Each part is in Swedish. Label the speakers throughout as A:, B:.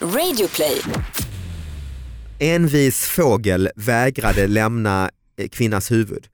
A: Radioplay.
B: En vis fågel vägrade lämna eh, kvinnas huvud.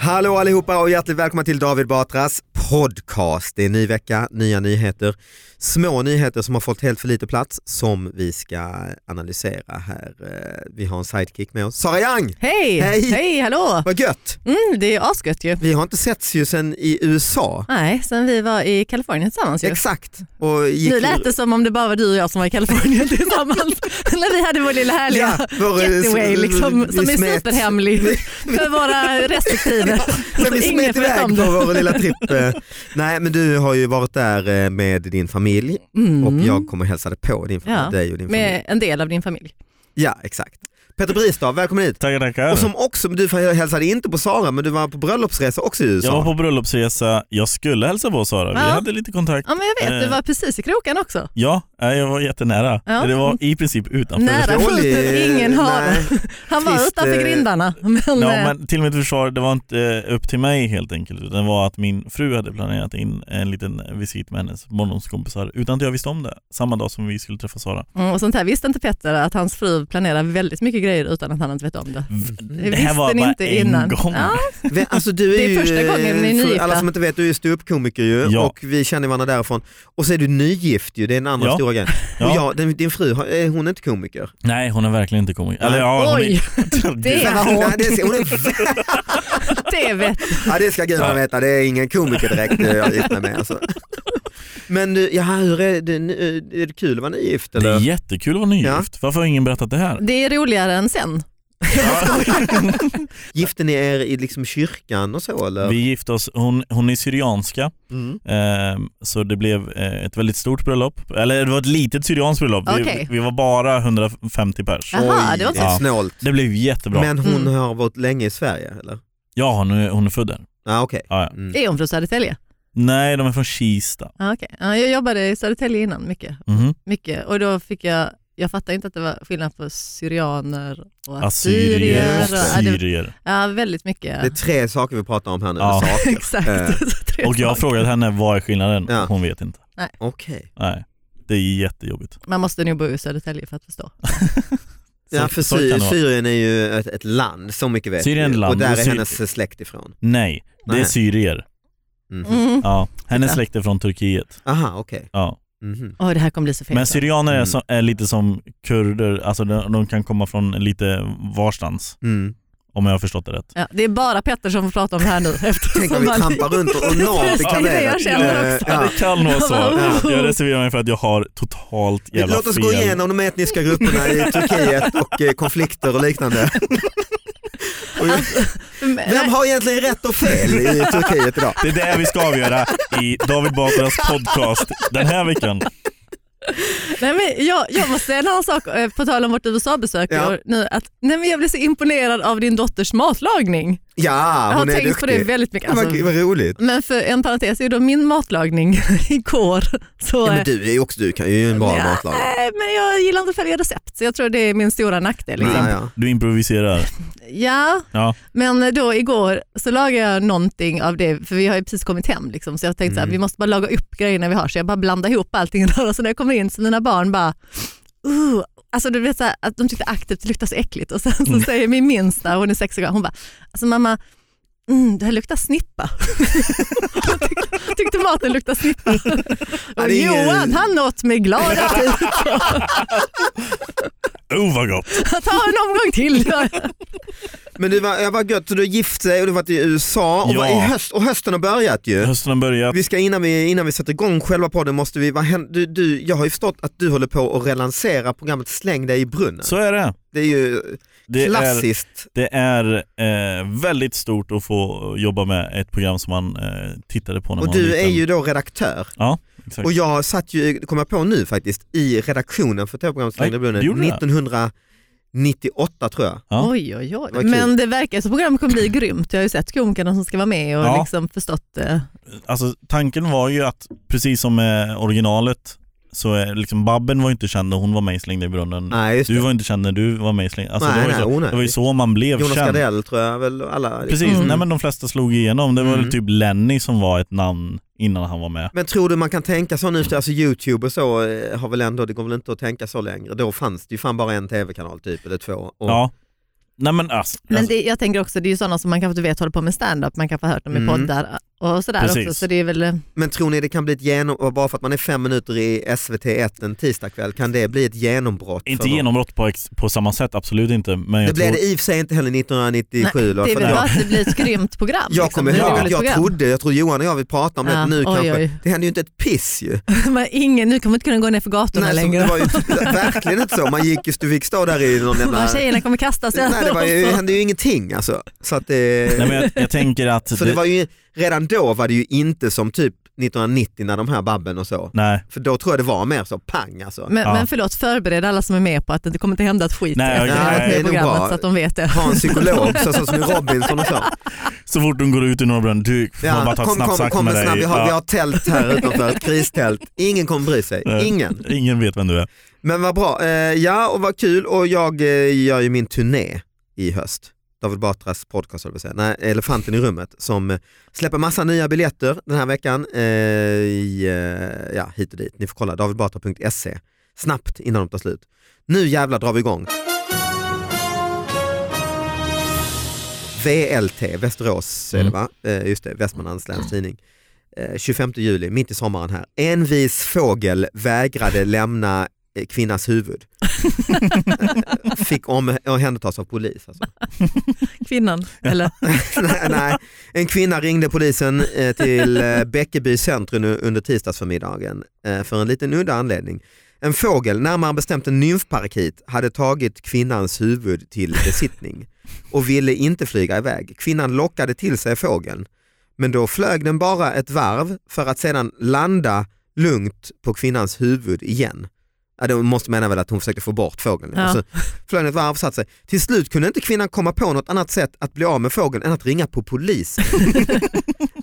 B: Hallå allihopa och hjärtligt välkomna till David Batras podcast. Det är en ny vecka, nya nyheter, små nyheter som har fått helt för lite plats som vi ska analysera här. Eh, Vi har en sidekick med oss, Sara Young!
C: Hej!
B: Hej!
C: Hej, hallå!
B: Vad gött!
C: Mm, det är asgött ju.
B: Vi har inte setts ju sen i USA.
C: Nej, sen vi var i Kalifornien tillsammans ju.
B: Exakt. Och gick
C: Nu lät det som om det bara var du och jag som var i Kalifornien tillsammans. När vi hade vår lilla härliga
B: Ja, vår-
C: getaway
B: s-
C: liksom,
B: vi
C: som är
B: smet-
C: superhemlig för våra respektive.
B: Men vi
C: Ingen
B: smet
C: vet
B: iväg
C: om
B: på
C: det.
B: vår lilla tripp. eh. Nej men du har ju varit där eh, med din familj
C: Mm.
B: och jag kommer hälsade på din familj,
C: Ja,
B: dig och din familj.
C: Med en del av din familj.
B: Ja exakt. Peter Bristav, välkommen hit.
D: Tackar, tackar.
B: Och som också, du hälsade inte på Sara men du var på bröllopsresa också i
D: jag var
B: USA.
D: på bröllopsresa, jag skulle hälsa på Sara,
C: Ja.
D: vi hade lite kontakt.
C: Ja men jag vet, du
D: Eh.
C: var precis i kroken också.
D: Ja, nej, jag var jättenära.
C: Ja.
D: Det var i princip utanför.
C: Nära
B: dålig-
C: foten, ingen har.
B: Nej.
C: Han var
B: trist,
C: utanför
B: eh,
C: grindarna. Men,
D: Ja,
C: eh,
D: men till mitt försvar, det var inte eh, upp till mig helt enkelt, utan det var att min fru hade planerat in en liten visit med hennes barndomskompisar utan att jag visste om det, samma dag som vi skulle träffa Sara.
C: mm, och sånt här visste inte Petter att hans fru planerar väldigt mycket grejer utan att han inte vet om det.
D: Det
C: visste
D: här var
C: ni
D: bara
C: inte
D: en
C: innan.
D: gång.
C: Ja.
B: Ve- Alltså, du är
C: Det är
B: ju,
C: första gången ni är
B: eh, för
C: nygifta.
B: Alla som inte vet, du är ju ståuppkomiker ju
D: Ja.
B: och vi känner varandra därifrån. Och så är du nygift ju, det är en annan
D: Ja.
B: stora grej. Och
D: Ja.
B: jag, din, din fru, har- eh, hon är inte komiker.
D: Nej, hon är verkligen inte kommit. Eller, ja, hon
C: Oj,
D: är...
C: det
B: Nej,
C: var hårt.
B: det är, hon är
C: Det vet
B: Ja det ska gudarna
D: Ja.
B: veta, det är ingen komiker direkt eh, jag gift mig med. Alltså. Men du, ja, hur är det, nu? Eh, är det kul att vara nygift
D: Det är
B: eller?
D: jättekul att vara nygift. Varför har ingen berättat det här?
C: Det är roligare än sen.
B: Gifte ni er i liksom kyrkan och så eller?
D: Vi gifte oss, hon, hon är syrianska,
B: Mm.
D: Ehm, Så det blev eh, ett väldigt stort bröllop. Eller det var ett litet syrianskt bröllop.
C: Okej.
D: Vi, vi var bara 150 pers.
C: Jaha, det var
B: är
D: så.
B: snålt.
D: Det blev jättebra.
B: Men hon
C: Mm.
B: har varit länge i Sverige eller?
D: Ja, hon är, hon är född där.
B: Ja okej.
D: Ja, ja.
B: Mm.
C: Är hon från Södertälje?
D: Nej, de är från Kista.
C: Ja, okej. ja, jag jobbade i Södertälje innan mycket,
D: Mhm.
C: mycket och då fick jag, jag fattade inte att det var skillnad på syrianer och assyrier.
D: Assyrier och
C: Och, ja, det,
D: syrier.
C: ja, väldigt mycket.
B: Det är tre saker vi pratar om här nu.
D: Ja.
B: Saker.
C: Exakt.
B: Eh,
C: Tre
D: Och jag har
C: saker.
D: frågat henne vad är skillnaden?
B: Ja.
D: Hon vet inte.
B: Okej.
D: Nej, det är jättejobbigt.
C: Man måste nog bo i Södertälje för att förstå.
B: Ja
D: Så-
B: för
D: så kan
B: Sy-
D: det vara.
B: Syrien är ju ett, ett land, så mycket vet
D: Syrien är
B: vi.
D: ett land,
B: Och där
D: och
B: är
D: Sy-
B: hennes släkt ifrån.
D: Nej, det
B: Nej.
D: är syrier.
B: Mhm.
C: Mm.
D: Ja. Hennes
C: Titta.
D: släkt är från Turkiet.
B: Aha okej.
D: Ja.
B: Mhm.
C: Åh, det här kommer bli så fel.
D: Men syrianer är,
B: Mm.
D: som, är lite som kurder, alltså de, de kan komma från lite varstans.
B: Mm.
D: Om jag har förstått det rätt.
C: ja, det är bara Petter som får prata om det här nu. eftersom
B: Tänk om vi
C: han-
B: trampar runt och, och nav till Eh,
C: Precis, det är det jag känner också.
B: Ja.
D: Det kan vara så.
C: Ja.
D: Jag reserverar mig för att jag har totalt jävla
B: Låt oss
D: fel.
B: gå igenom de etniska grupperna i Turkiet och eh, konflikter och liknande. Och jag-
C: Alltså,
B: Vem har egentligen rätt och fel i Turkiet idag?
D: Det är det vi ska avgöra i David Batras podcast den här veckan.
C: Nej, men jag, jag måste säga en annan sak eh, på tal om vårt USA-besök.
B: Ja.
C: och nu, att, nej, men jag blev så imponerad av din dotters matlagning.
B: Ja,
C: jag har
B: hon är
C: tänkt på det
B: duktig.
C: väldigt mycket.
B: Ja,
C: Alltså,
B: Vad vad roligt.
C: men för en parentes är ju då min matlagning igår.
B: Ja,
C: Så,
B: men du, är ju också, du kan ju en bra
C: Ja, eh,
B: matlagning.
C: Nej, men jag gillar inte att följa recept så jag tror det är min stora nackdel. Liksom.
B: Ja, ja.
D: Du improviserar.
C: Ja,
D: Ja.
C: men då igår så lagade jag någonting av det, för vi har ju precis kommit hem liksom, så jag tänkte att
B: Mm.
C: vi måste bara laga upp grejerna vi har, så jag bara blandade ihop allting där och så när jag kommer in så mina barn bara Uh, alltså du vet så här, att de tyckte aktivt det luktar så äckligt och sen så
B: Mm.
C: säger min minsta, hon är sex år gammal, hon bara alltså mamma mm, det här luktar snippa. Hon tyckte, tyckte maten luktar snippa.
B: Ja,
C: Och
B: det är ingen-
C: Johan han åt typ. med glad aptit.
D: Oh vad gott.
C: Ta en omgång till.
B: Men du, var, jag var gött, så du har gift sig och du har varit i USA och,
D: Ja.
B: var i höst, och hösten har börjat ju.
D: Hösten har börjat.
B: Vi ska innan vi, innan vi sätter igång själva podden måste vi, vad händer, du, du, jag har ju förstått att du håller på att relansera programmet Släng dig i brunnen.
D: Så är det.
B: Det är ju
D: Det är,
B: klassiskt.
D: det är eh, väldigt stort att få jobba med ett program som man eh, tittade på när
B: Och
D: man var
B: du
D: liten.
B: är ju då redaktör.
D: Ja, exakt.
B: Och jag satt ju, kom jag på nu faktiskt, i redaktionen för tv-programmet Släng dig i
D: det Mm. gjorde
B: brunnen
D: du.
B: 1998 tror jag.
D: Ja.
C: Oj oj oj.
B: Vad kul.
C: Men det verkar som programmet kommer bli grymt. Jag har ju sett komikerna som ska vara med och
D: Ja.
C: liksom förstått. Eh,
D: Alltså, tanken var ju att, precis som med originalet, så är, liksom, Babben var ju inte känd när hon var med i Släng dig i brunnen.
B: Nej, just
D: Du
B: det.
D: var ju inte känd när du var med i Släng alltså,
B: Nej,
D: det, var ju
B: nej,
D: så,
B: onödigt.
D: det var ju så man blev
B: Jonas
D: känd.
B: Gardell tror jag väl alla. liksom.
D: Precis,
C: Mm.
D: nej men de flesta slog igenom. Det var
B: Mm.
D: väl typ Lenny som var ett namn innan han var med.
B: Men tror du man kan tänka så nu efter, alltså Youtube och så eh, har väl ändå, det går väl inte att tänka så längre. Då fanns det ju fan bara en tv-kanal typ, eller två. Och,
D: Ja. Nej men alltså,
C: Men
D: alltså,
C: det, jag tänker också, det är ju sådana som man kanske inte vet håller på med stand-up, man kanske har hört dem i
B: Mm.
C: poddar och sådär
D: Precis.
C: också. Så det är väl, eh,
B: Men tror ni det kan bli ett genom, och bara för att man är fem minuter i SVT1 en tisdagkväll, kan det bli ett genombrott?
D: inte
B: för någon?
D: genombrott på, ex, på samma sätt, absolut inte. Men
B: Det
D: jag
B: blev
D: tror,
B: det i och för sig inte heller 1997.
C: nej, det
B: då,
C: är
B: för
C: väl
B: det-
C: bra att det blir ett grymt program.
B: Jag
C: liksom.
B: kommer
C: Det är ett
B: ihåg att
C: roligt
B: jag
C: program.
B: trodde, jag tror Johan och jag vi pratar om
C: Ja,
B: det nu
C: oj,
B: kanske.
C: oj.
B: Det hände ju inte ett piss ju.
C: Men ingen, nu kommer inte kunna gå ner för gatorna
B: Nej, så
C: längre.
B: det var ju verkligen inte så. Man gick just, du fick stå där i någon jävla...
C: Ja, Tjejerna kommer kasta sig.
B: Nej, det, var ju, det hände ju ingenting alltså. Så, att det,
D: nej, men jag, jag tänker att...
B: så det var ju, redan då var det ju inte som typ 1990 när de här Babben och så.
D: nej.
B: För då tror jag det var mer så pang alltså.
C: Men,
D: Ja.
C: men förlåt, förbered alla som är med på att det kommer inte hända ett skit
D: Nej,
C: efter
D: okej.
C: jag har varit
D: Nej,
C: med
B: det
C: i
B: är nog
C: programmet
B: bra.
C: så att de vet det.
B: Ha en psykolog så, så som i Robinson och så.
D: Så fort de går ut ur Norra Brunn, du får
B: Ja,
D: bara ta ett
B: kom, kom,
D: snabbsack
B: kom
D: med
B: en
D: dig.
B: snabb, vi har, vi
D: Ja.
B: har tält här utanför, ett kristält. Ingen kommer bry sig,
D: Nej.
B: ingen.
D: Ingen vet vem du är.
B: Men vad bra, eh, ja och vad kul och jag eh, gör ju min turné i höst. David Batras podcast, höll jag på att säga. Nej, Elefanten i rummet, som eh, släpper massa nya biljetter den här veckan. Eh, i, eh, ja, hit och dit. Ni får kolla davidbatra.se snabbt innan de tar slut. Nu jävlar drar vi igång. VLT, Västerås är det
D: Mm.
B: va? Eh, just det, Västmanlands läns tidning. Eh, 25 juli, mitt i sommaren här. Envis fågel vägrade lämna eh, kvinnas huvud. Fick om, omhändertas av polis. Alltså.
C: Kvinnan, eller?
B: nej, nej. En kvinna ringde polisen eh, till eh, Bäckeby centrum nu under tisdagsförmiddagen eh, för en liten udda anledning. En fågel, närmare bestämt en nymfparakit, hade tagit kvinnans huvud till besittning och ville inte flyga iväg. Kvinnan lockade till sig fågeln, men då flög den bara ett varv för att sedan landa lugnt på kvinnans huvud igen. Ja, det måste mena väl att hon försökte få bort fågeln.
C: Ja.
B: Alltså, flög ett varv och satte sig. Till slut kunde inte kvinnan komma på något annat sätt att bli av med fågeln än att ringa på polisen.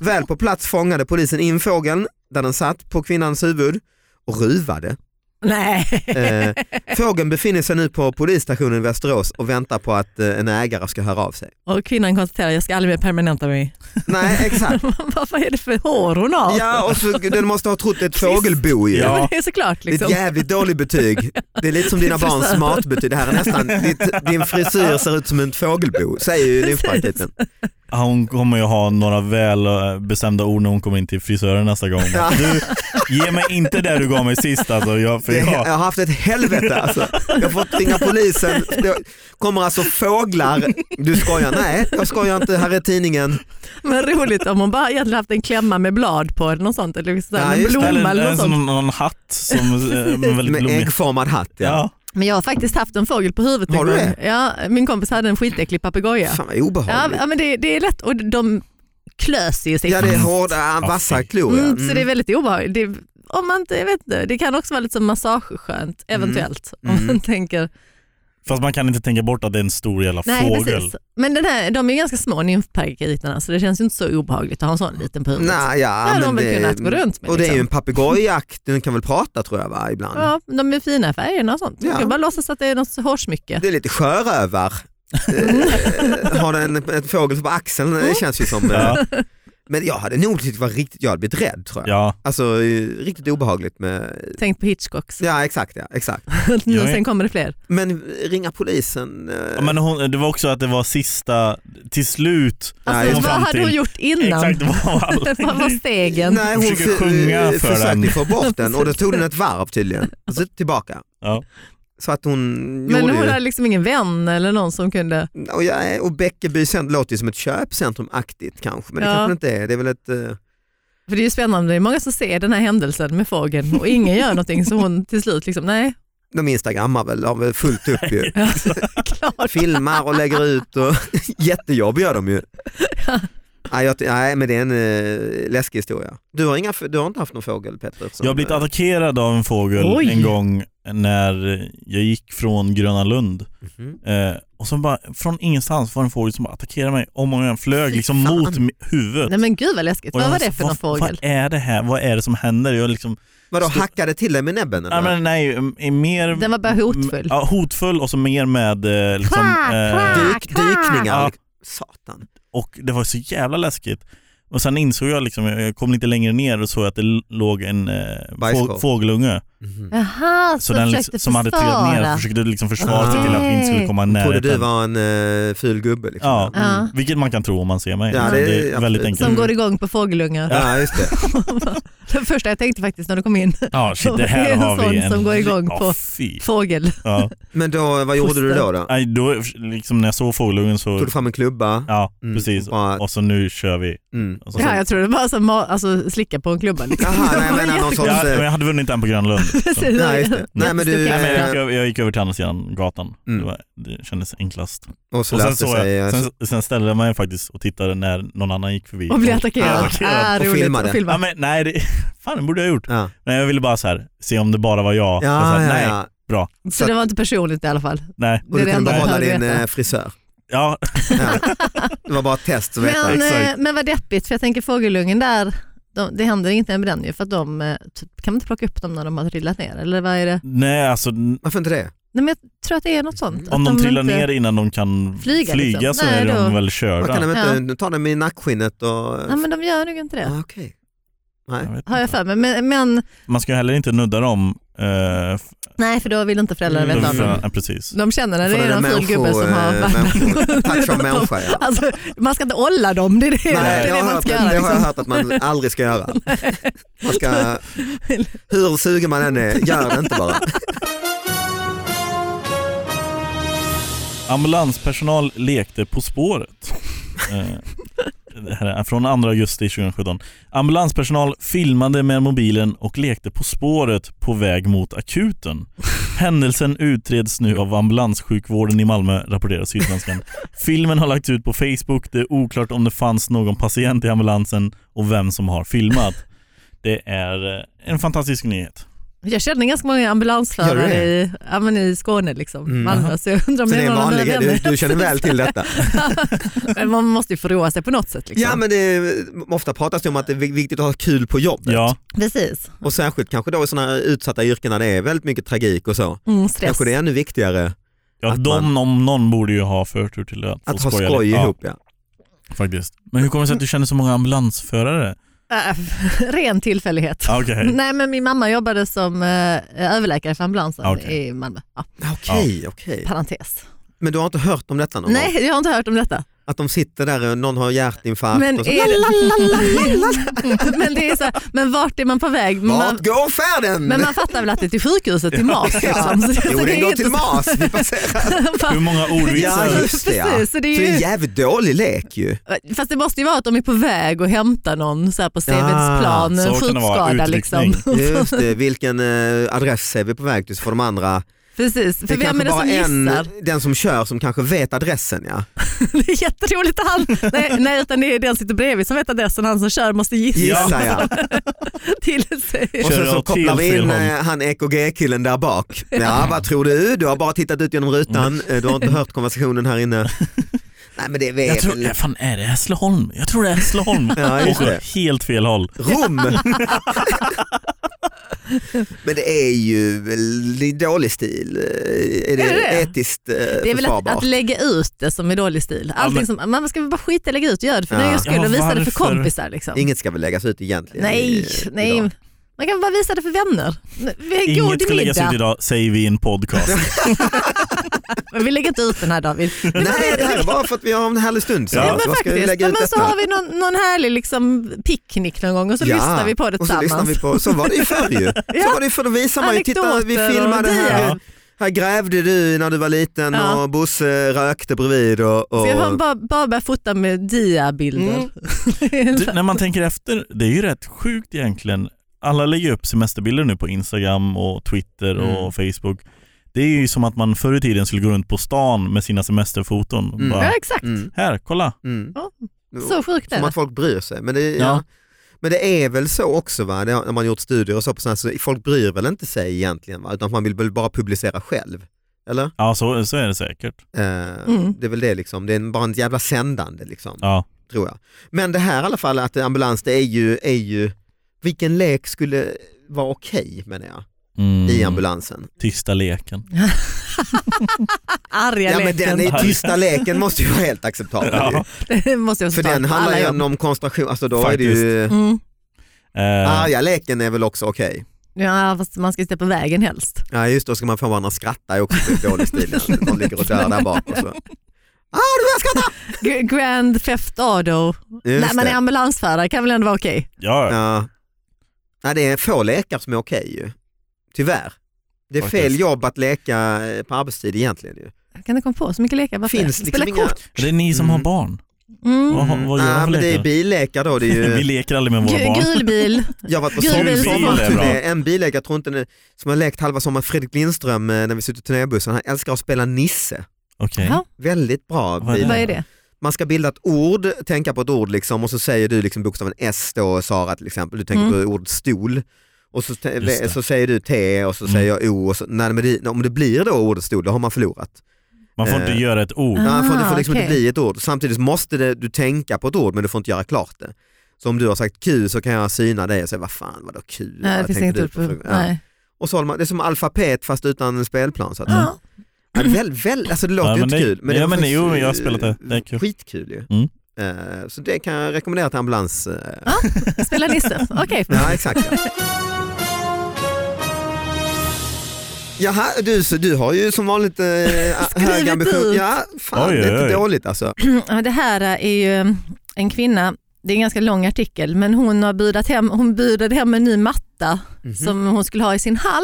B: Väl på plats fångade polisen in fågeln där den satt på kvinnans huvud och ruvade.
C: Nej.
B: Eh, fågeln befinner sig nu på polisstationen i Västerås och väntar på att eh, en ägare ska höra av sig.
C: Och kvinnan konstaterar, jag ska aldrig mer permanenta mig.
B: Nej exakt.
C: Vad är det för hår hon har?
B: Ja, och så, den måste ha trott det är ett fågelbo ju.
D: Ja.
C: Men det är såklart
B: Det är
C: liksom.
B: ett jävligt dåligt betyg. Det är lite som dina
C: Det är
B: barns
C: frisör.
B: matbetyg. Det här är nästan, ditt, din frisyr ser ut som en fågelbo, säger ju nymfparakiten.
D: Hon kommer ju ha några väl eh, bestämda ord när hon kommer in till frisören nästa gång.
B: Ja.
D: Du, ge mig inte det du gav mig sist alltså. Jag, för
B: Det,
D: jag,
B: jag har haft ett helvete alltså. Jag har fått ringa polisen. Det kommer alltså fåglar. Du skojar? Nej, jag skojar inte. Här är tidningen.
C: Men roligt om hon bara egentligen haft en klämma med blad på eller något sånt. Eller liksom
B: Ja,
C: en
B: just det.
C: blomma
D: eller
C: eller,
D: eller
C: något sånt.
D: någon, någon hatt som eh, med väldigt
B: Med
D: blommig.
B: äggformad hatt. Ja.
D: Ja.
C: Men jag har faktiskt haft en fågel på huvudet. en
B: Har du
C: gång.
B: det?
C: Ja, min kompis hade en skitäcklig papegoja.
B: Fan vad
C: Ja,
B: obehagligt.
C: ja, men det, det är lätt och de klös ju sig.
B: Ja det är hårda,
D: Ja,
B: vassa
D: fy.
B: klor. ja.
C: Mm, så det är väldigt obehagligt. Det, om man inte, jag vet inte, det kan också vara lite som massageskönt eventuellt. Om
B: Mm.
C: man tänker.
D: Fast man kan inte tänka bort att det är en stor jävla
C: Nej,
D: fågel.
C: precis. Men den här, de är ju ganska små nymfparakiterna så det känns ju inte så obehagligt att ha en sån liten på huvudet.
B: Mm. Nej, ja,
C: hade
B: men
C: de väl
B: det,
C: kunnat gå runt med,
B: Och det är ju
C: liksom.
B: en papegojaakt, den kan väl prata tror jag va, ibland.
C: Ja, de är fina färgerna och sånt.
B: Ja.
C: Man kan bara låtsas att det är något hårsmycke.
B: Det är lite sjörövar. Eh, Har den en fågel på axeln
C: Mm.
B: det känns ju som. eh,
D: Ja.
B: Men jag hade nog tyckt det var riktigt, jag hade blivit rädd tror jag.
D: Ja.
B: Alltså eh, riktigt obehagligt med,
C: Tänk på Hitchcocks.
B: ja exakt ja, exakt.
C: nu,
D: Jag är-
C: sen kommer det fler.
B: Men ringa polisen. eh,
D: Ja, Men hon, det var också att det var sista, till slut
B: Nej,
C: Alltså,
D: kom
C: vad
D: fram
C: hade
D: till-
C: hon gjort innan?
D: Exakt vad var alla-
C: Vad var stegen?
B: Nej, hon
D: försöker
B: för,
D: sjunga
B: eh,
D: för
B: försökte
D: den.
B: få bort den och då tog den ett varv tydligen. Och så tillbaka.
D: Ja.
B: Så att hon
C: Men
B: gjorde
C: hon
B: ju...
C: hade liksom ingen vän eller någon som kunde...
B: Och, jag, och Bäckeby centrum låter ju som ett köpcentrum-aktigt kanske, men det
C: Ja.
B: kanske det inte är. Det är väl ett, eh,
C: För det är ju spännande, det är många som ser den här händelsen med fågeln och ingen gör någonting så hon till slut liksom, nej,
B: de instagrammar väl, har väl fullt upp ju.
C: klart.
B: Filmar och lägger ut och jättejobb gör de ju. Nej, jag, ty- nej men det är en eh, läskig historia. Du har, inga, f- du har inte haft någon fågel Petter? eftersom-
D: Jag har blivit attackerad av en fågel
C: Oj.
D: en gång när jag gick från Gröna Lund
B: Mhm.
D: eh, och så bara från ingenstans var det en fågel som bara attackerade mig om och om igen, flög
C: Fy
D: liksom
C: fan.
D: mot mi- huvudet.
C: Nej men gud vad läskigt,
D: Och jag
C: vad var det för
D: vad,
C: någon fågel?
D: Vad är det här? Vad är det som händer? Jag liksom,
B: Vadå,
D: Stå-
B: hackade till dig med näbben? Eller?
D: nej, men nej, m- är mer...
C: Den var bara hotfull.
D: m- Ja, hotfull och så mer med eh, liksom...
C: Kvack, kvack.
D: eh,
B: Dyk, dykningar?
D: Ja.
B: liksom. Satan.
D: och det var så jävla läskigt. Och sen insåg jag liksom, jag jag kom lite längre ner och såg att det l- låg en eh,
B: Bajskorv.
D: få, fågelunge
B: Mhm.
C: Jaha,
D: så
C: så,
D: den liksom,
C: Alltså, försökte
D: som hade trillat ner och försökte liksom försvara sig till att vi inte skulle komma
B: Trodde
D: nära.
B: du var en uh, ful gubbe? Liksom.
D: Ja.
B: Mm.
C: Ja.
D: Vilket man kan tro om man ser mig. Liksom,
B: Ja,
D: det,
B: det är
D: är väldigt
B: absolut.
D: enkelt.
C: Som går igång på fågelungar.
B: ja, just det.
C: det första jag tänkte faktiskt när du kom in,
D: Ja, shit, det
C: Det är
D: här
C: en
D: har
C: sån
D: vi en...
C: som går igång
D: ja,
C: på-
D: Fy.
C: fågel.
D: Ja.
B: Men då, vad gjorde du då? då?
D: Nej, då, liksom, när jag såg fågelungen så...
B: Tog du fram en klubba?
D: Ja,
B: Mm,
D: precis.
B: Bara,
D: Och så nu kör vi.
B: mm.
D: Och så,
C: Ja, jag tror det var som ma- alltså, slicka på en klubba. Liksom.
B: Jaha, nej, jag menar någon sorts...
D: Ja, men
B: eh,
D: jag hade vunnit den på Gröna Lund. Så-
C: Precis.
B: Nej, just det. Nej, men du,
D: Nej, men jag, gick
B: eh,
D: över, jag gick över till andra sidan gatan.
B: Mm.
D: Det, var, det kändes enklast.
B: och så
D: Och sen,
B: löste
D: såg
B: sig...
D: jag,
B: eh,
D: sen, sen ställde man ju faktiskt och tittade när någon annan gick förbi.
C: Och bli attackerad.
B: Ja,
C: Ah,
B: och
C: roligt.
B: filmade.
C: Och filma.
D: Ja, men, nej, det, fan det borde jag ha gjort.
B: Ja,
D: Nej, jag ville bara så här, se om det bara var jag. jag sa,
B: ja, ja.
D: nej,
B: ja.
C: Så det var inte personligt i alla fall.
D: nej.
B: Och du kunde
C: det enda jag
B: behålla
C: behöver
B: din
C: veta.
B: eh, frisör.
D: Ja,
B: Ja. Det var bara ett test att veta.
C: Men, eh,
D: Exakt.
C: men vad deppigt, för jag tänker fågelungen där, de, det händer ingenting med den ju, för att de eh, typ, kan man inte plocka upp dem när de har trillat ner? Eller vad är det?
D: nej alltså n-
B: Varför inte det?
C: Nej, men jag tror att det är något sånt.
D: om
C: att
D: de, trillar
C: inte-
D: ner innan de kan flyga,
C: Flyga, liksom.
D: så
C: Nej,
D: är de
C: då-
D: väl
B: Man
D: körda.
B: kan de inte ta den med nackskinnet och...
C: Ja, men de gör nog inte det,
B: Ah, Okej. Nej.
D: Jag vet
C: har jag
D: inte.
C: för mig. Men, men
D: Man ska ju heller inte nudda dem. eh, f-
C: nej, för då vill inte föräldrarna
B: Mm.
C: veta
D: för-
C: om dem.
D: ja, precis.
C: De känner när det
B: För
C: är någon ful
B: människo-
C: gubbe som har
B: eh, människo- Touch av människa ja.
C: Alltså, man ska inte olla dem, det är det,
B: Nej,
C: det,
B: jag
C: är det
B: har
C: man
B: hört,
C: ska
B: det
C: göra.
B: har jag
C: Liksom.
B: hört att man aldrig ska göra. Man ska, hur sugen man än är, gör det inte bara.
D: Ambulanspersonal lekte På spåret. Eh, det här är från 2 augusti 2017. Ambulanspersonal filmade med mobilen och lekte På spåret på väg mot akuten. Händelsen utreds nu av ambulanssjukvården i Malmö, rapporterar Sydsvenskan. Filmen har lagts ut på Facebook. Det är oklart om det fanns någon patient i ambulansen och vem som har filmat. Det är eh, en fantastisk nyhet.
C: Jag känner ganska många
B: Gör du
C: ambulansförare
B: det?
C: i, ja, men i Skåne, liksom,
B: Mm.
C: Malmö, så jag undrar om
B: Så det är en
C: någon av mina
B: vanlig grej, du,
C: vänner.
B: du känner väl till detta.
C: Men Man måste ju få roa sig på något sätt. Liksom.
B: Ja men det är, ofta pratas det om att det är viktigt att ha kul på jobbet.
D: Ja,
C: Precis,
B: Och särskilt kanske då i sådana utsatta yrken där det är väldigt mycket tragik och så.
C: mm, stress.
B: Kanske det är ännu viktigare
D: ja
B: Att
D: de om någon borde ju ha förtur till att, få
B: att ha
D: skoja
B: skoj
D: lite. Ja.
B: ihop. Ja.
D: Faktiskt. Men hur kommer det sig att du känner så många ambulansförare?
C: Äh, ren tillfällighet.
D: Ah, Okej.
C: Nej men min mamma jobbade som eh, överläkare för ambulansen
D: Okej.
C: i Malmö. Ja,
B: Okej, okej.
C: parentes.
B: Men du har inte hört om detta någon gång?
C: Nej, jag har inte hört om detta.
B: Att de sitter där och någon har hjärtinfarkt
C: Men,
B: och så,
C: är det... men, det är så här, men vart är man på väg? Man,
B: Vart går färden?
C: men man fattar väl att det är till sjukhuset, till MAS. Liksom. Så-
B: jo
C: så det
B: den
C: är
B: går
C: inte
B: till
C: så-
B: MAS, vi passerar.
D: Hur många ordvitsar?
B: Ja just det ja.
C: Precis,
B: Så
C: så
B: det
C: det är ju-
B: är en jävligt dålig lek ju.
C: Fast det måste ju vara att de är på väg att hämta någon så här på Seveds plan,
D: Ah, så
C: en
D: kan det vara,
C: skjutskada.
D: utryckning.
C: Liksom.
B: Just det, vilken eh, adress är vi på väg till så får de andra.
C: Precis, för
B: Det är
C: vem
B: kanske
C: är det
B: bara
C: som
B: en,
C: gissar?
B: den som kör som kanske vet adressen ja.
C: Det är jätteroligt att han, nej, nej utan det är den som sitter bredvid som vet adressen, han som kör måste gissa
B: Gissa ja.
C: till sig.
B: Och sen
D: Kör
B: så
D: åt
B: kopplar
D: helt
B: vi in
D: fel håll.
B: eh, han EKG-killen där bak. Ja vad tror du? Du har bara tittat ut genom rutan,
C: Mm.
B: Eh, du har inte hört konversationen här inne. Nej men det är
D: Jag tror,
B: väl
D: äh, fan är det Hässleholm? Jag tror det är Hässleholm.
B: Ja, just det.
D: Åker helt fel håll.
B: Rom. Men det är ju väl det är dålig stil. Eh, Är det,
C: Är det det?
B: etiskt eh,
C: Det är väl att,
B: försvarbart?
C: att lägga ut det som är dålig stil. Allting
D: men-
C: som, man ska väl bara skita i att lägga ut, gör det för
B: Ja.
C: nöjes skull
D: Ja,
C: och visa det för
D: varför?
C: kompisar. Liksom.
B: Inget ska väl läggas ut egentligen?
C: nej,
B: i-
C: nej.
B: idag.
C: Man kan bara visa det för vänner. Vi har en
D: Inget
C: god
D: ska läggas ut
C: middag,
D: idag, säger vi i en podcast.
C: men vi lägger inte ut den här David.
B: Nej, det här är bara för att vi har en härlig stund. Så.
D: Ja,
C: Ja, men
B: Vad ska vi
C: faktiskt.
B: lägga
C: Ja,
B: ut
C: men så
B: detta?
C: har vi någon, någon härlig liksom, picknick någon gång och så
B: Ja,
C: lyssnar vi på det
B: och så, lyssnar
C: tillsammans.
B: vi på, så var det ju förr ju. Så
C: Ja.
B: var det ju förr, då visar man ju, titta vi
C: Anekdoter och
B: filmade här.
D: grejer.
B: Här grävde du när du var liten
C: Ja.
B: och Bosse rökte bredvid. Och, och...
C: Så jag har bara, bara börjat fota med diabilder.
B: Mm.
D: Du, när man tänker efter, det är ju rätt sjukt egentligen. Alla lägger upp semesterbilder nu på Instagram och Twitter och Facebook. Det är ju som att man förr i tiden skulle gå runt på stan med sina semesterfoton.
B: Mm.
D: Bara,
C: ja exakt,
B: Mm,
D: här, kolla.
B: mm.
C: så sjukt är
B: Som
C: det.
B: att folk bryr sig. Men det, ja.
D: Ja.
B: Men det är väl så också va, det, har- när man gjort studier och så, på såna här, så folk bryr väl inte sig egentligen va, utan man vill väl bara publicera själv. Eller?
D: Ja, så, så är det säkert.
B: Eh,
C: Mm.
B: Det är väl det liksom, det är en- bara en jävla sändande liksom,
D: Ja.
B: tror jag. Men det här i alla fall att ambulans, det är ju, är ju vilken lek skulle vara okej menar jag,
D: Mm.
B: i ambulansen?
D: Tysta leken.
C: Arga
B: Ja men
C: leken.
B: den är tysta leken måste ju vara helt acceptabel. ju.
D: Ja.
C: Det måste jag
B: För
C: också ta
B: den
C: på
B: handlar
C: alla
B: ju
C: jobb.
B: om koncentration, alltså då är
D: Faktiskt.
B: det ju,
C: Mm.
D: Eh,
B: arga leken är väl också okej.
C: Ja, fast man ska ju släppa vägen helst.
B: Ja just då ska man få varandra att skratta är också lite dålig stil. att De ligger och dör där bak och så. Ah du börjar skratta!
C: G- Grand Theft Auto.
B: Just
C: Nej, men
B: det.
C: är ambulansförare kan väl ändå vara okej?
D: ja.
B: Ja. Nej det är få lekar som är okej ju. Tyvärr. Det är fel
D: Faktiskt.
B: jobb att leka eh, på arbetstid egentligen ju.
C: Jag kan inte komma på så mycket lekar. Varför?
B: Finns
C: Spela
B: liksom inga...
C: kort.
D: Det är ni som
B: Mm.
D: har barn.
C: Mm.
D: Vad, vad gör de
B: Nej, men
D: för
B: det är
D: lekar?
B: billekar då. Det är
D: Vi
B: ju...
D: leker aldrig med våra
C: Gu-
D: barn.
C: Gul bil.
B: Jag har varit på
C: Gud,
B: som-
C: bil är bra.
B: sommarturné, en billek, jag tror inte ni, som har lekt halva sommaren, Fredrik Lindström eh, när vi suttit i turnébussen, han älskar att spela Nisse.
D: Okej.
C: Ja.
B: Väldigt bra
D: Vad är
B: bil.
C: Vad är det?
B: man ska bilda ett ord, tänka på ett ord liksom och så säger du liksom bokstaven S då Sara till exempel, du tänker
C: Mm.
B: på ordet stol och så, te-
D: Just det.
B: så säger du T och så
D: Mm.
B: säger jag O och så, nej, men det, om det blir då ordet stol då har man förlorat.
D: Man får inte
B: Eh.
D: göra ett ord.
C: Ah,
B: nej, för det får liksom inte
C: okej.
B: bli ett ord. Samtidigt måste det, du tänka på ett ord men du får inte göra klart det. Så om du har sagt Q så kan jag syna dig och säga vad fan vadå Q?
C: Nej,
B: Vad
C: det finns
B: tänker
C: inget
B: du
C: ord på.
B: Ja.
C: Nej. Ah,
B: Och så håller man, det är som alfabet fast utan en spelplan. Så att,
C: Ja.
B: Ja, väl, väl, alltså det låter
D: Ja,
B: ju
D: men
B: inte
D: det-
B: kul.
D: ja,
B: var
D: men
B: faktiskt,
D: jo, jag har spelat det. Det är
B: eh,
D: kul.
B: Skitkul ju.
D: Mm.
B: Eh, Så det kan jag rekommendera till ambulans. eh.
C: Spela Nisse. Okej.
B: Ja, exakt. Ja. Jaha, du, så du har ju som vanligt eh,
C: Skrivit
B: höga ambitioner.
C: ut.
B: Ja, fan
D: Oj,
B: det är
D: oj,
B: inte
D: oj.
B: dåligt alltså.
C: Ja, Det här är ju en kvinna, det är en ganska lång artikel, men hon har budat hem, hon budade hem en ny matta
B: Mhm.
C: som hon skulle ha i sin hall.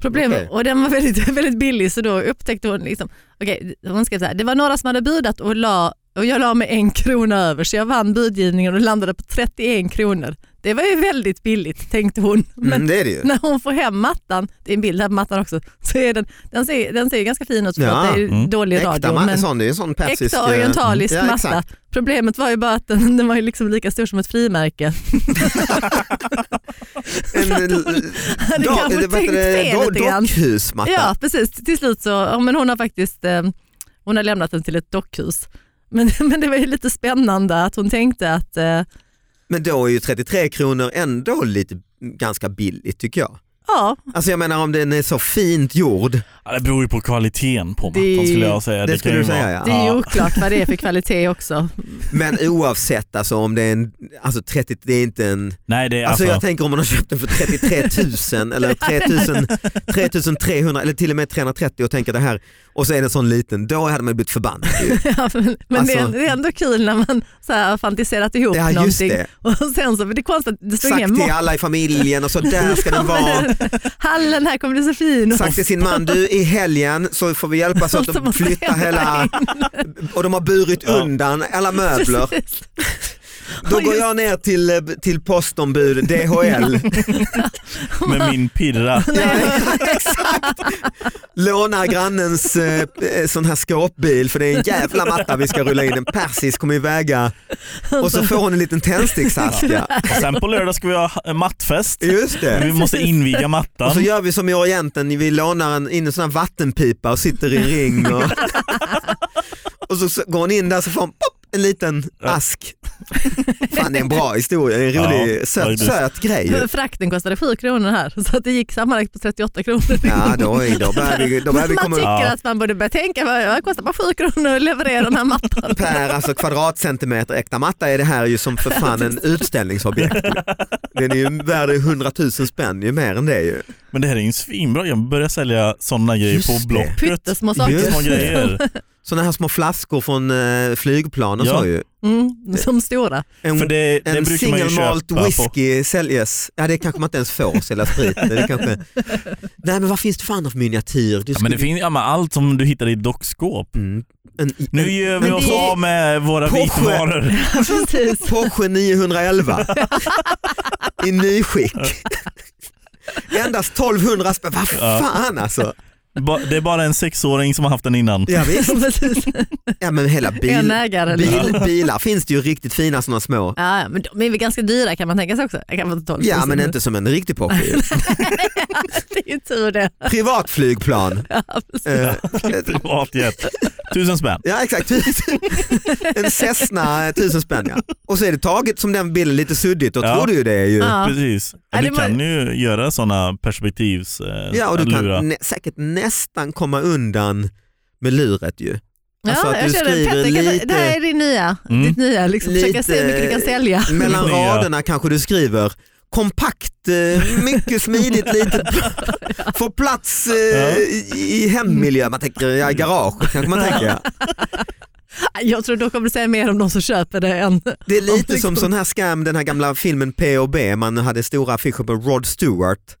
C: Problem,
B: Okej.
C: Och den var väldigt, väldigt billig så då upptäckte hon, liksom, okej, hon skrev så här, det var några som hade budat och, la, och jag la mig en krona över så jag vann budgivningen och landade på 31 kronor. Det var ju väldigt billigt tänkte hon. Men
B: Mm, det är det ju.
C: när hon får hem mattan, det är en bild här på mattan också, så är den, den, ser, den ser ju ganska fin ut för
B: Ja.
C: att det är ju
D: Mm.
C: dålig radio.
B: Äkta, man,
C: men-
B: sån, det är en sån persisk.
C: Äkta
B: eh,
C: orientalisk
B: ja,
C: matta.
B: exakt.
C: Problemet var ju bara att den, den var ju liksom lika stor som ett frimärke.
B: En,
C: att hon hade
B: do-
C: kanske
B: vad heter
C: tänkt
B: det?
C: fel
B: Do-
C: lite grann.
B: Dockhusmatta.
C: Ja precis, till slut så, ja, men hon har faktiskt eh, hon har lämnat den till ett dockhus. Men, men det var ju lite spännande att hon tänkte att eh,
B: Men då är ju 33 kronor ändå lite ganska billigt tycker jag.
C: ja,
B: Alltså jag menar om den är så fint gjord.
D: Ja, det beror ju på kvaliteten på mattan
C: Det-
D: skulle jag säga.
B: det
D: kan
B: skulle
D: ju
B: du säga,
D: vara-
B: ja.
C: det är ju oklart vad det är för kvalitet också.
B: Men oavsett alltså om det är en, alltså 30, det är inte en,
D: Nej, det är
B: alltså
D: alltså,
B: jag tänker om man har köpt den för 33 000 eller 3000, 3300 eller till och med 330 och tänker det här och så är den sån liten, då hade man blivit förbannad ju.
C: Ja, men men det, är,
B: Alltså-
C: det är ändå kul när man så här har fantiserat ihop
B: Ja just
C: någonting.
B: det,
C: Och sen så, men det är konstigt att det står
B: sagt
C: ingen
B: till
C: mått.
B: alla i familjen och så där ska den
C: Ja,
B: vara.
C: men Hallen här kommer bli så fin.
B: Sagt till sin man, du i helgen så får vi hjälpas åt
C: Så man
B: att flytta hela, och de har burit
D: Ja.
B: undan alla möbler.
C: Precis.
B: Då
C: Och
B: går
C: just-
B: jag ner till, eh, till postombud DHL,
D: alltså med min pirra.
B: lånar grannens eh, eh, sån här skåpbil för det är en jävla matta vi ska rulla in, en persisk kommer ju väga och så får hon en liten tändsticksask. Ja.
D: Och sen på lördag ska vi ha eh, mattfest.
B: Just det.
D: Vi måste inviga mattan.
B: Och så gör vi som i Orienten, vi lånar en, in en sån här vattenpipa och sitter i en ring och, och så, så går hon in där så får hon pop, en liten ask. Fan det är en bra historia, det är en rolig
D: Ja,
B: söt,
D: faktiskt.
B: söt grej. ju.
C: Frakten kostade 7 kronor här så att det gick sammanlagt på 38 kronor.
B: Ja, då, är- då börjar vi, då börjar vi
C: man
B: komma
C: tycker
D: Ja.
C: att man borde börja tänka, vad vad kostar bara 7 kronor att leverera den här mattan?
B: per alltså, kvadratcentimeter äkta matta är det här ju som för fan en utställningsobjekt. Den är ju värd 100 000 spänn, ju mer än det ju.
D: Men det här är ju en svinbra Jag börjar sälja sådana grejer
B: Just
D: på
B: det.
D: Blocket.
C: Pyttesmå saker.
B: Just
D: Små
B: det.
D: grejer.
B: Sådana här små flaskor från eh, flygplan och
D: Ja.
B: så ju.
C: Mm, som stora.
B: En,
D: För det, det
B: en
D: brukar man ju
B: single malt
D: köpa på.
B: whisky säljes, ja det kanske man inte ens får sälja sprit. Det är kanske... Nej men vad finns det för annat för miniatyr? Du
D: Ja, men det
B: skulle-
D: finns ja, men allt som du hittar i dockskåp.
B: Mm. En,
D: Nu gör vi
B: Men
D: oss
B: det är-
D: av med våra
B: Porsche.
D: vitvaror.
C: Precis.
B: Porsche 911 i nyskick. Endast 1200 spänn, vad fan alltså.
D: Ba- Det är bara en sexåring som har haft den innan.
B: Ja, visst.
C: Precis.
B: ja men hela
C: En
B: bil,
C: ägare. liksom.
B: bil, bilar finns det ju riktigt fina sådana små.
C: Ja, ja, men de är väl ganska dyra kan man tänka sig också. Jag kan inte tolka
B: Ja men inte som en riktig Porsche.
C: Det är ju tur det.
B: Privatflygplan.
C: Ja, precis.
B: Eh,
D: Privatjet. Tusen spänn.
B: Ja exakt, en Cessna eh, tusen spänn ja. Och så är det taget som den bilden lite suddigt, då
D: Ja.
B: tror du ju det är ju.
C: Ja.
D: Precis.
C: Ja, det
D: Du
C: var-
D: kan ju göra sådana perspektivs... eh,
B: Ja och du
D: lura.
B: kan nä- säkert nästan komma undan med luret ju. Alltså
C: ja,
B: att
C: jag
B: du
C: känner
B: skriver
C: Petter, kan,
B: lite-
C: det här är din nya,
D: Mm.
C: ditt nya, liksom, försöka se hur mycket du kan sälja.
B: eh, Mellan
D: Nya.
B: raderna kanske du skriver kompakt, eh, mycket smidigt, lite får plats eh,
D: Ja.
B: i- i hemmiljö. Man tänker ja, i garage kanske man tänker. Ja.
C: Jag tror de kommer säga mer om de som köper det än...
B: Det är
C: Om
B: lite
C: det
B: som
C: kom-
B: sån här scam, den här gamla filmen P.O.B. Man hade stora affischer på Rod Stewart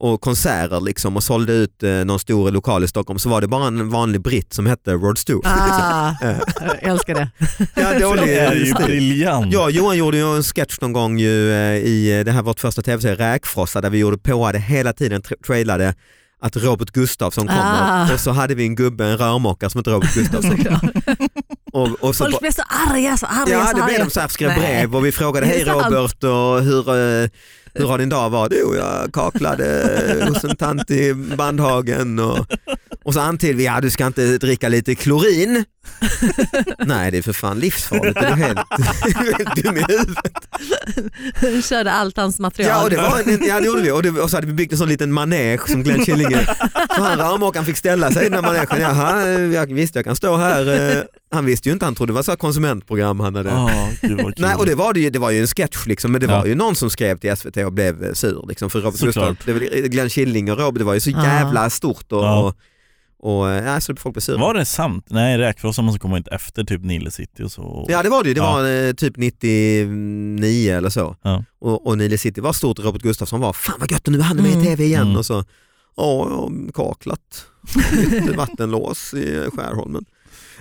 B: och konserter liksom och sålde ut eh, någon stor lokal i Stockholm så var det bara en vanlig britt som hette Rod Stewart.
C: Ah,
B: Eh,
C: jag älskar det.
B: ja,
D: Det är
B: dålig
D: ju
B: stil.
D: briljant.
B: Ja, Johan gjorde ju en sketch någon gång ju, eh, i eh, det här vårt första tv-serie Räkfrossa där vi gjorde påade hela tiden, tra- trailade att Robert Gustafsson kommer
C: Ah.
B: och så hade vi en gubbe, en rörmokare som hette Robert Gustafsson. och, och så
C: Folk
B: ba-
C: blev så arga, så arga,
B: Ja,
C: så
B: det blev
C: arga.
B: de så här, skrev
C: Nej.
B: brev och vi frågade
C: Är det
B: hej
C: sant?"
B: Robert och hur, eh, hur har din dag varit? Jo, jag kaklade hos en tant i Bandhagen och, och så antydde vi, ja du ska inte dricka lite klorin. Nej, det är för fan livsfarligt, är du helt, helt dum i huvudet?
C: De körde allt hans material.
B: Ja, och det, var en, ja, det gjorde vi och, det, och så hade vi byggt en sån liten manege som Glenn Killinge, så han rörmokaren fick ställa sig i den här manegen. Jaha, jag visste jag kan stå här. eh. Han visste ju inte, han trodde det var så här konsumentprogram han hade.
D: Ja, Ah, gud vad kul.
B: Nej, och det var, det, ju, det var ju en sketch liksom, men det var
D: Ja.
B: ju någon som skrev till SVT och blev eh, sur. Liksom, för Robert
D: Såklart.
B: Gustaf, det var Glenn Killing och Robert, det var ju så
C: Ja.
B: jävla stort och,
D: Ja.
B: och, och eh, ja, så folk blev sura.
D: Var det sant? Nej, Räkfrossa måste komma ut efter typ Nile City och så.
B: Ja det var det ju, det
D: Ja.
B: var eh, typ 99 eller så.
D: Ja.
B: Och, och Nile City var stort, Robert Gustafsson var, fan vad gött, nu är han med
C: Mm.
B: i tv igen.
D: Mm.
B: Och så, ja, jag har kaklat, Lite vattenlås i Skärholmen.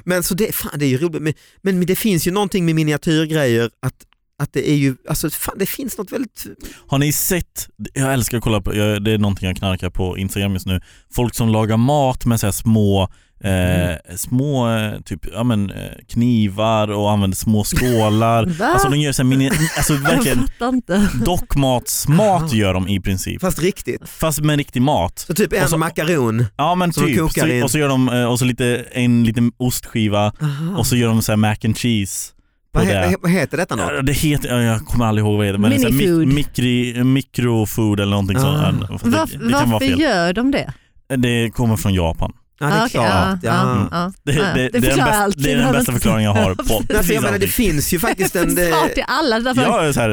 B: Men så det, fan, det är ju roligt, men, men det finns ju någonting med miniatyrgrejer att att det är ju, alltså fan det finns något väldigt
D: Har ni sett, jag älskar att kolla på, jag, det är någonting jag knarkar på Instagram just nu, folk som lagar mat med så här små Eh,
B: Mm.
D: Små eh, typ, ja, men, eh, knivar och använder små skålar.
C: Va?
D: alltså de gör så här mini, alltså
C: jag
D: verkligen
C: fattar
B: Alltså,
C: inte.
D: dockmatsmat gör de i princip.
B: Fast riktigt.
D: Fast med riktig mat.
B: Så typ en
D: Och så-
B: makaron.
D: Ja men
B: Som de
D: typ.
B: kokar in.
D: Så, och så gör de, eh, och så lite, en liten ostskiva och så gör de så här mac and cheese. på
B: Vad, he-
D: det.
B: vad heter detta
D: Ja,
B: något?
D: Det heter, ja, jag kommer aldrig ihåg vad det heter, men det är så här mi-
C: Minifood.
D: mikri, mikrofood eller någonting
B: Ah.
D: sånt. Fast
C: Varf-
D: Det, det kan vara
C: varför
D: fel.
C: gör de det?
D: Det kommer från Japan.
B: Ja, det är
C: Ah, okej,
B: klart.
C: ja,
B: Ja. Mm.
C: ja, ja.
D: Det,
C: Ja,
D: det, det, är, den
C: förklarar
D: bästa,
C: allt.
D: det är den bästa förklaringen jag har på
B: Nej, för
D: precis
B: Alltså, jag menar, det
D: allting.
B: finns ju faktiskt en... eh,
C: Det är till alla. Därför
D: Ja, jag är så här,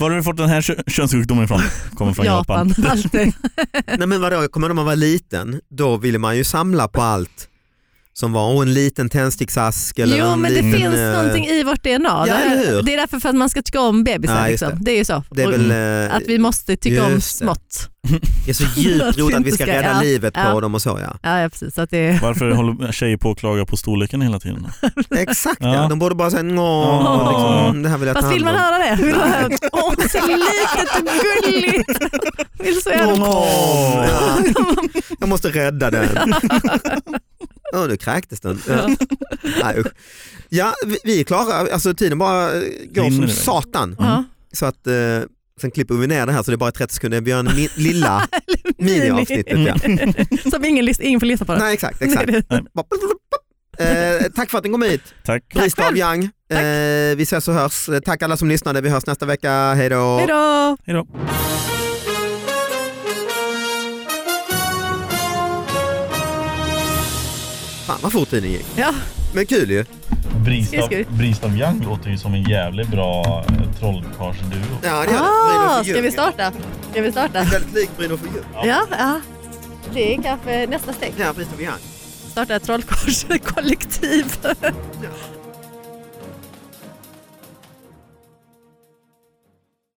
D: var har du fått den här kö- könssjukdomen ifrån? Kommer från Japan.
C: Japan. Alltid.
B: Nej men vadå, jag kommer ihåg när man var liten, då ville man ju samla på allt som var, och en liten tändsticksask eller
C: Jo
B: en
C: men det
B: liten,
C: finns
B: eh,
C: någonting i vårt DNA. det,
B: eller hur?
C: är, det är därför för att man ska tycka om bebisar.
B: Ja, just
C: liksom. det. är ju så.
B: Det är
C: Och
B: väl eh,
C: Att vi måste tycka om
B: just det.
C: smått.
B: det är så djupt
C: Att vi
B: rotat att vi
C: inte
B: ska
C: ska-
B: rädda
C: ja,
B: livet på
C: ja.
B: dem och så ja.
C: Ja, ja precis. Så Att det är...
D: Varför håller tjejer på att klaga på storleken hela tiden?
B: Exakt ja.
D: Ja.
B: de borde bara säga åh,
D: Ja.
B: liksom, mm, det här vill jag ta
C: Fast vill
B: hand
C: man
B: om.
C: höra det? Vill man höra att, Åh, det är så litet och gulligt. Vill så gärna...
B: Åh, ja. Jag måste rädda den. Åh, nu kräktes den. Ja, Nej, usch. ja vi, vi är klara, alltså tiden bara eh, går
D: Rinner
B: som
D: iväg.
B: satan.
C: Ja.
B: Så att, eh, sen klipper vi ner det här så det är bara 30 sekunder, Björn Mi- Lilla miniavsnittet. Ja.
C: Som ingen, list, ingen får lyssna på det.
B: Nej exakt, exakt. Bara- Eh, tack för att ni kom hit,
D: Tack.
B: Bristav
C: själv.
B: Young. Eh, vi ses och hörs. Eh, Tack alla som lyssnade, vi hörs nästa vecka. Hej då.
C: Hej då!
D: Hej då.
B: Fan vad fort tiden gick.
C: Ja,
B: Men kul ju.
D: Bristav,
C: Skridskor.
D: Bristav Young låter ju som en jävligt bra eh, trollkarlsduo.
B: Ja, det gör det. Brynolf
C: ah,
B: och
C: ska vi
B: Ljung.
C: starta? Ska vi starta?
B: Väldigt likt Brynolf och Ljung.
C: Ja, ja. Det är kanske nästa steg.
B: Ja, Bristav Young.
C: Starta ett trollkarlskollektiv.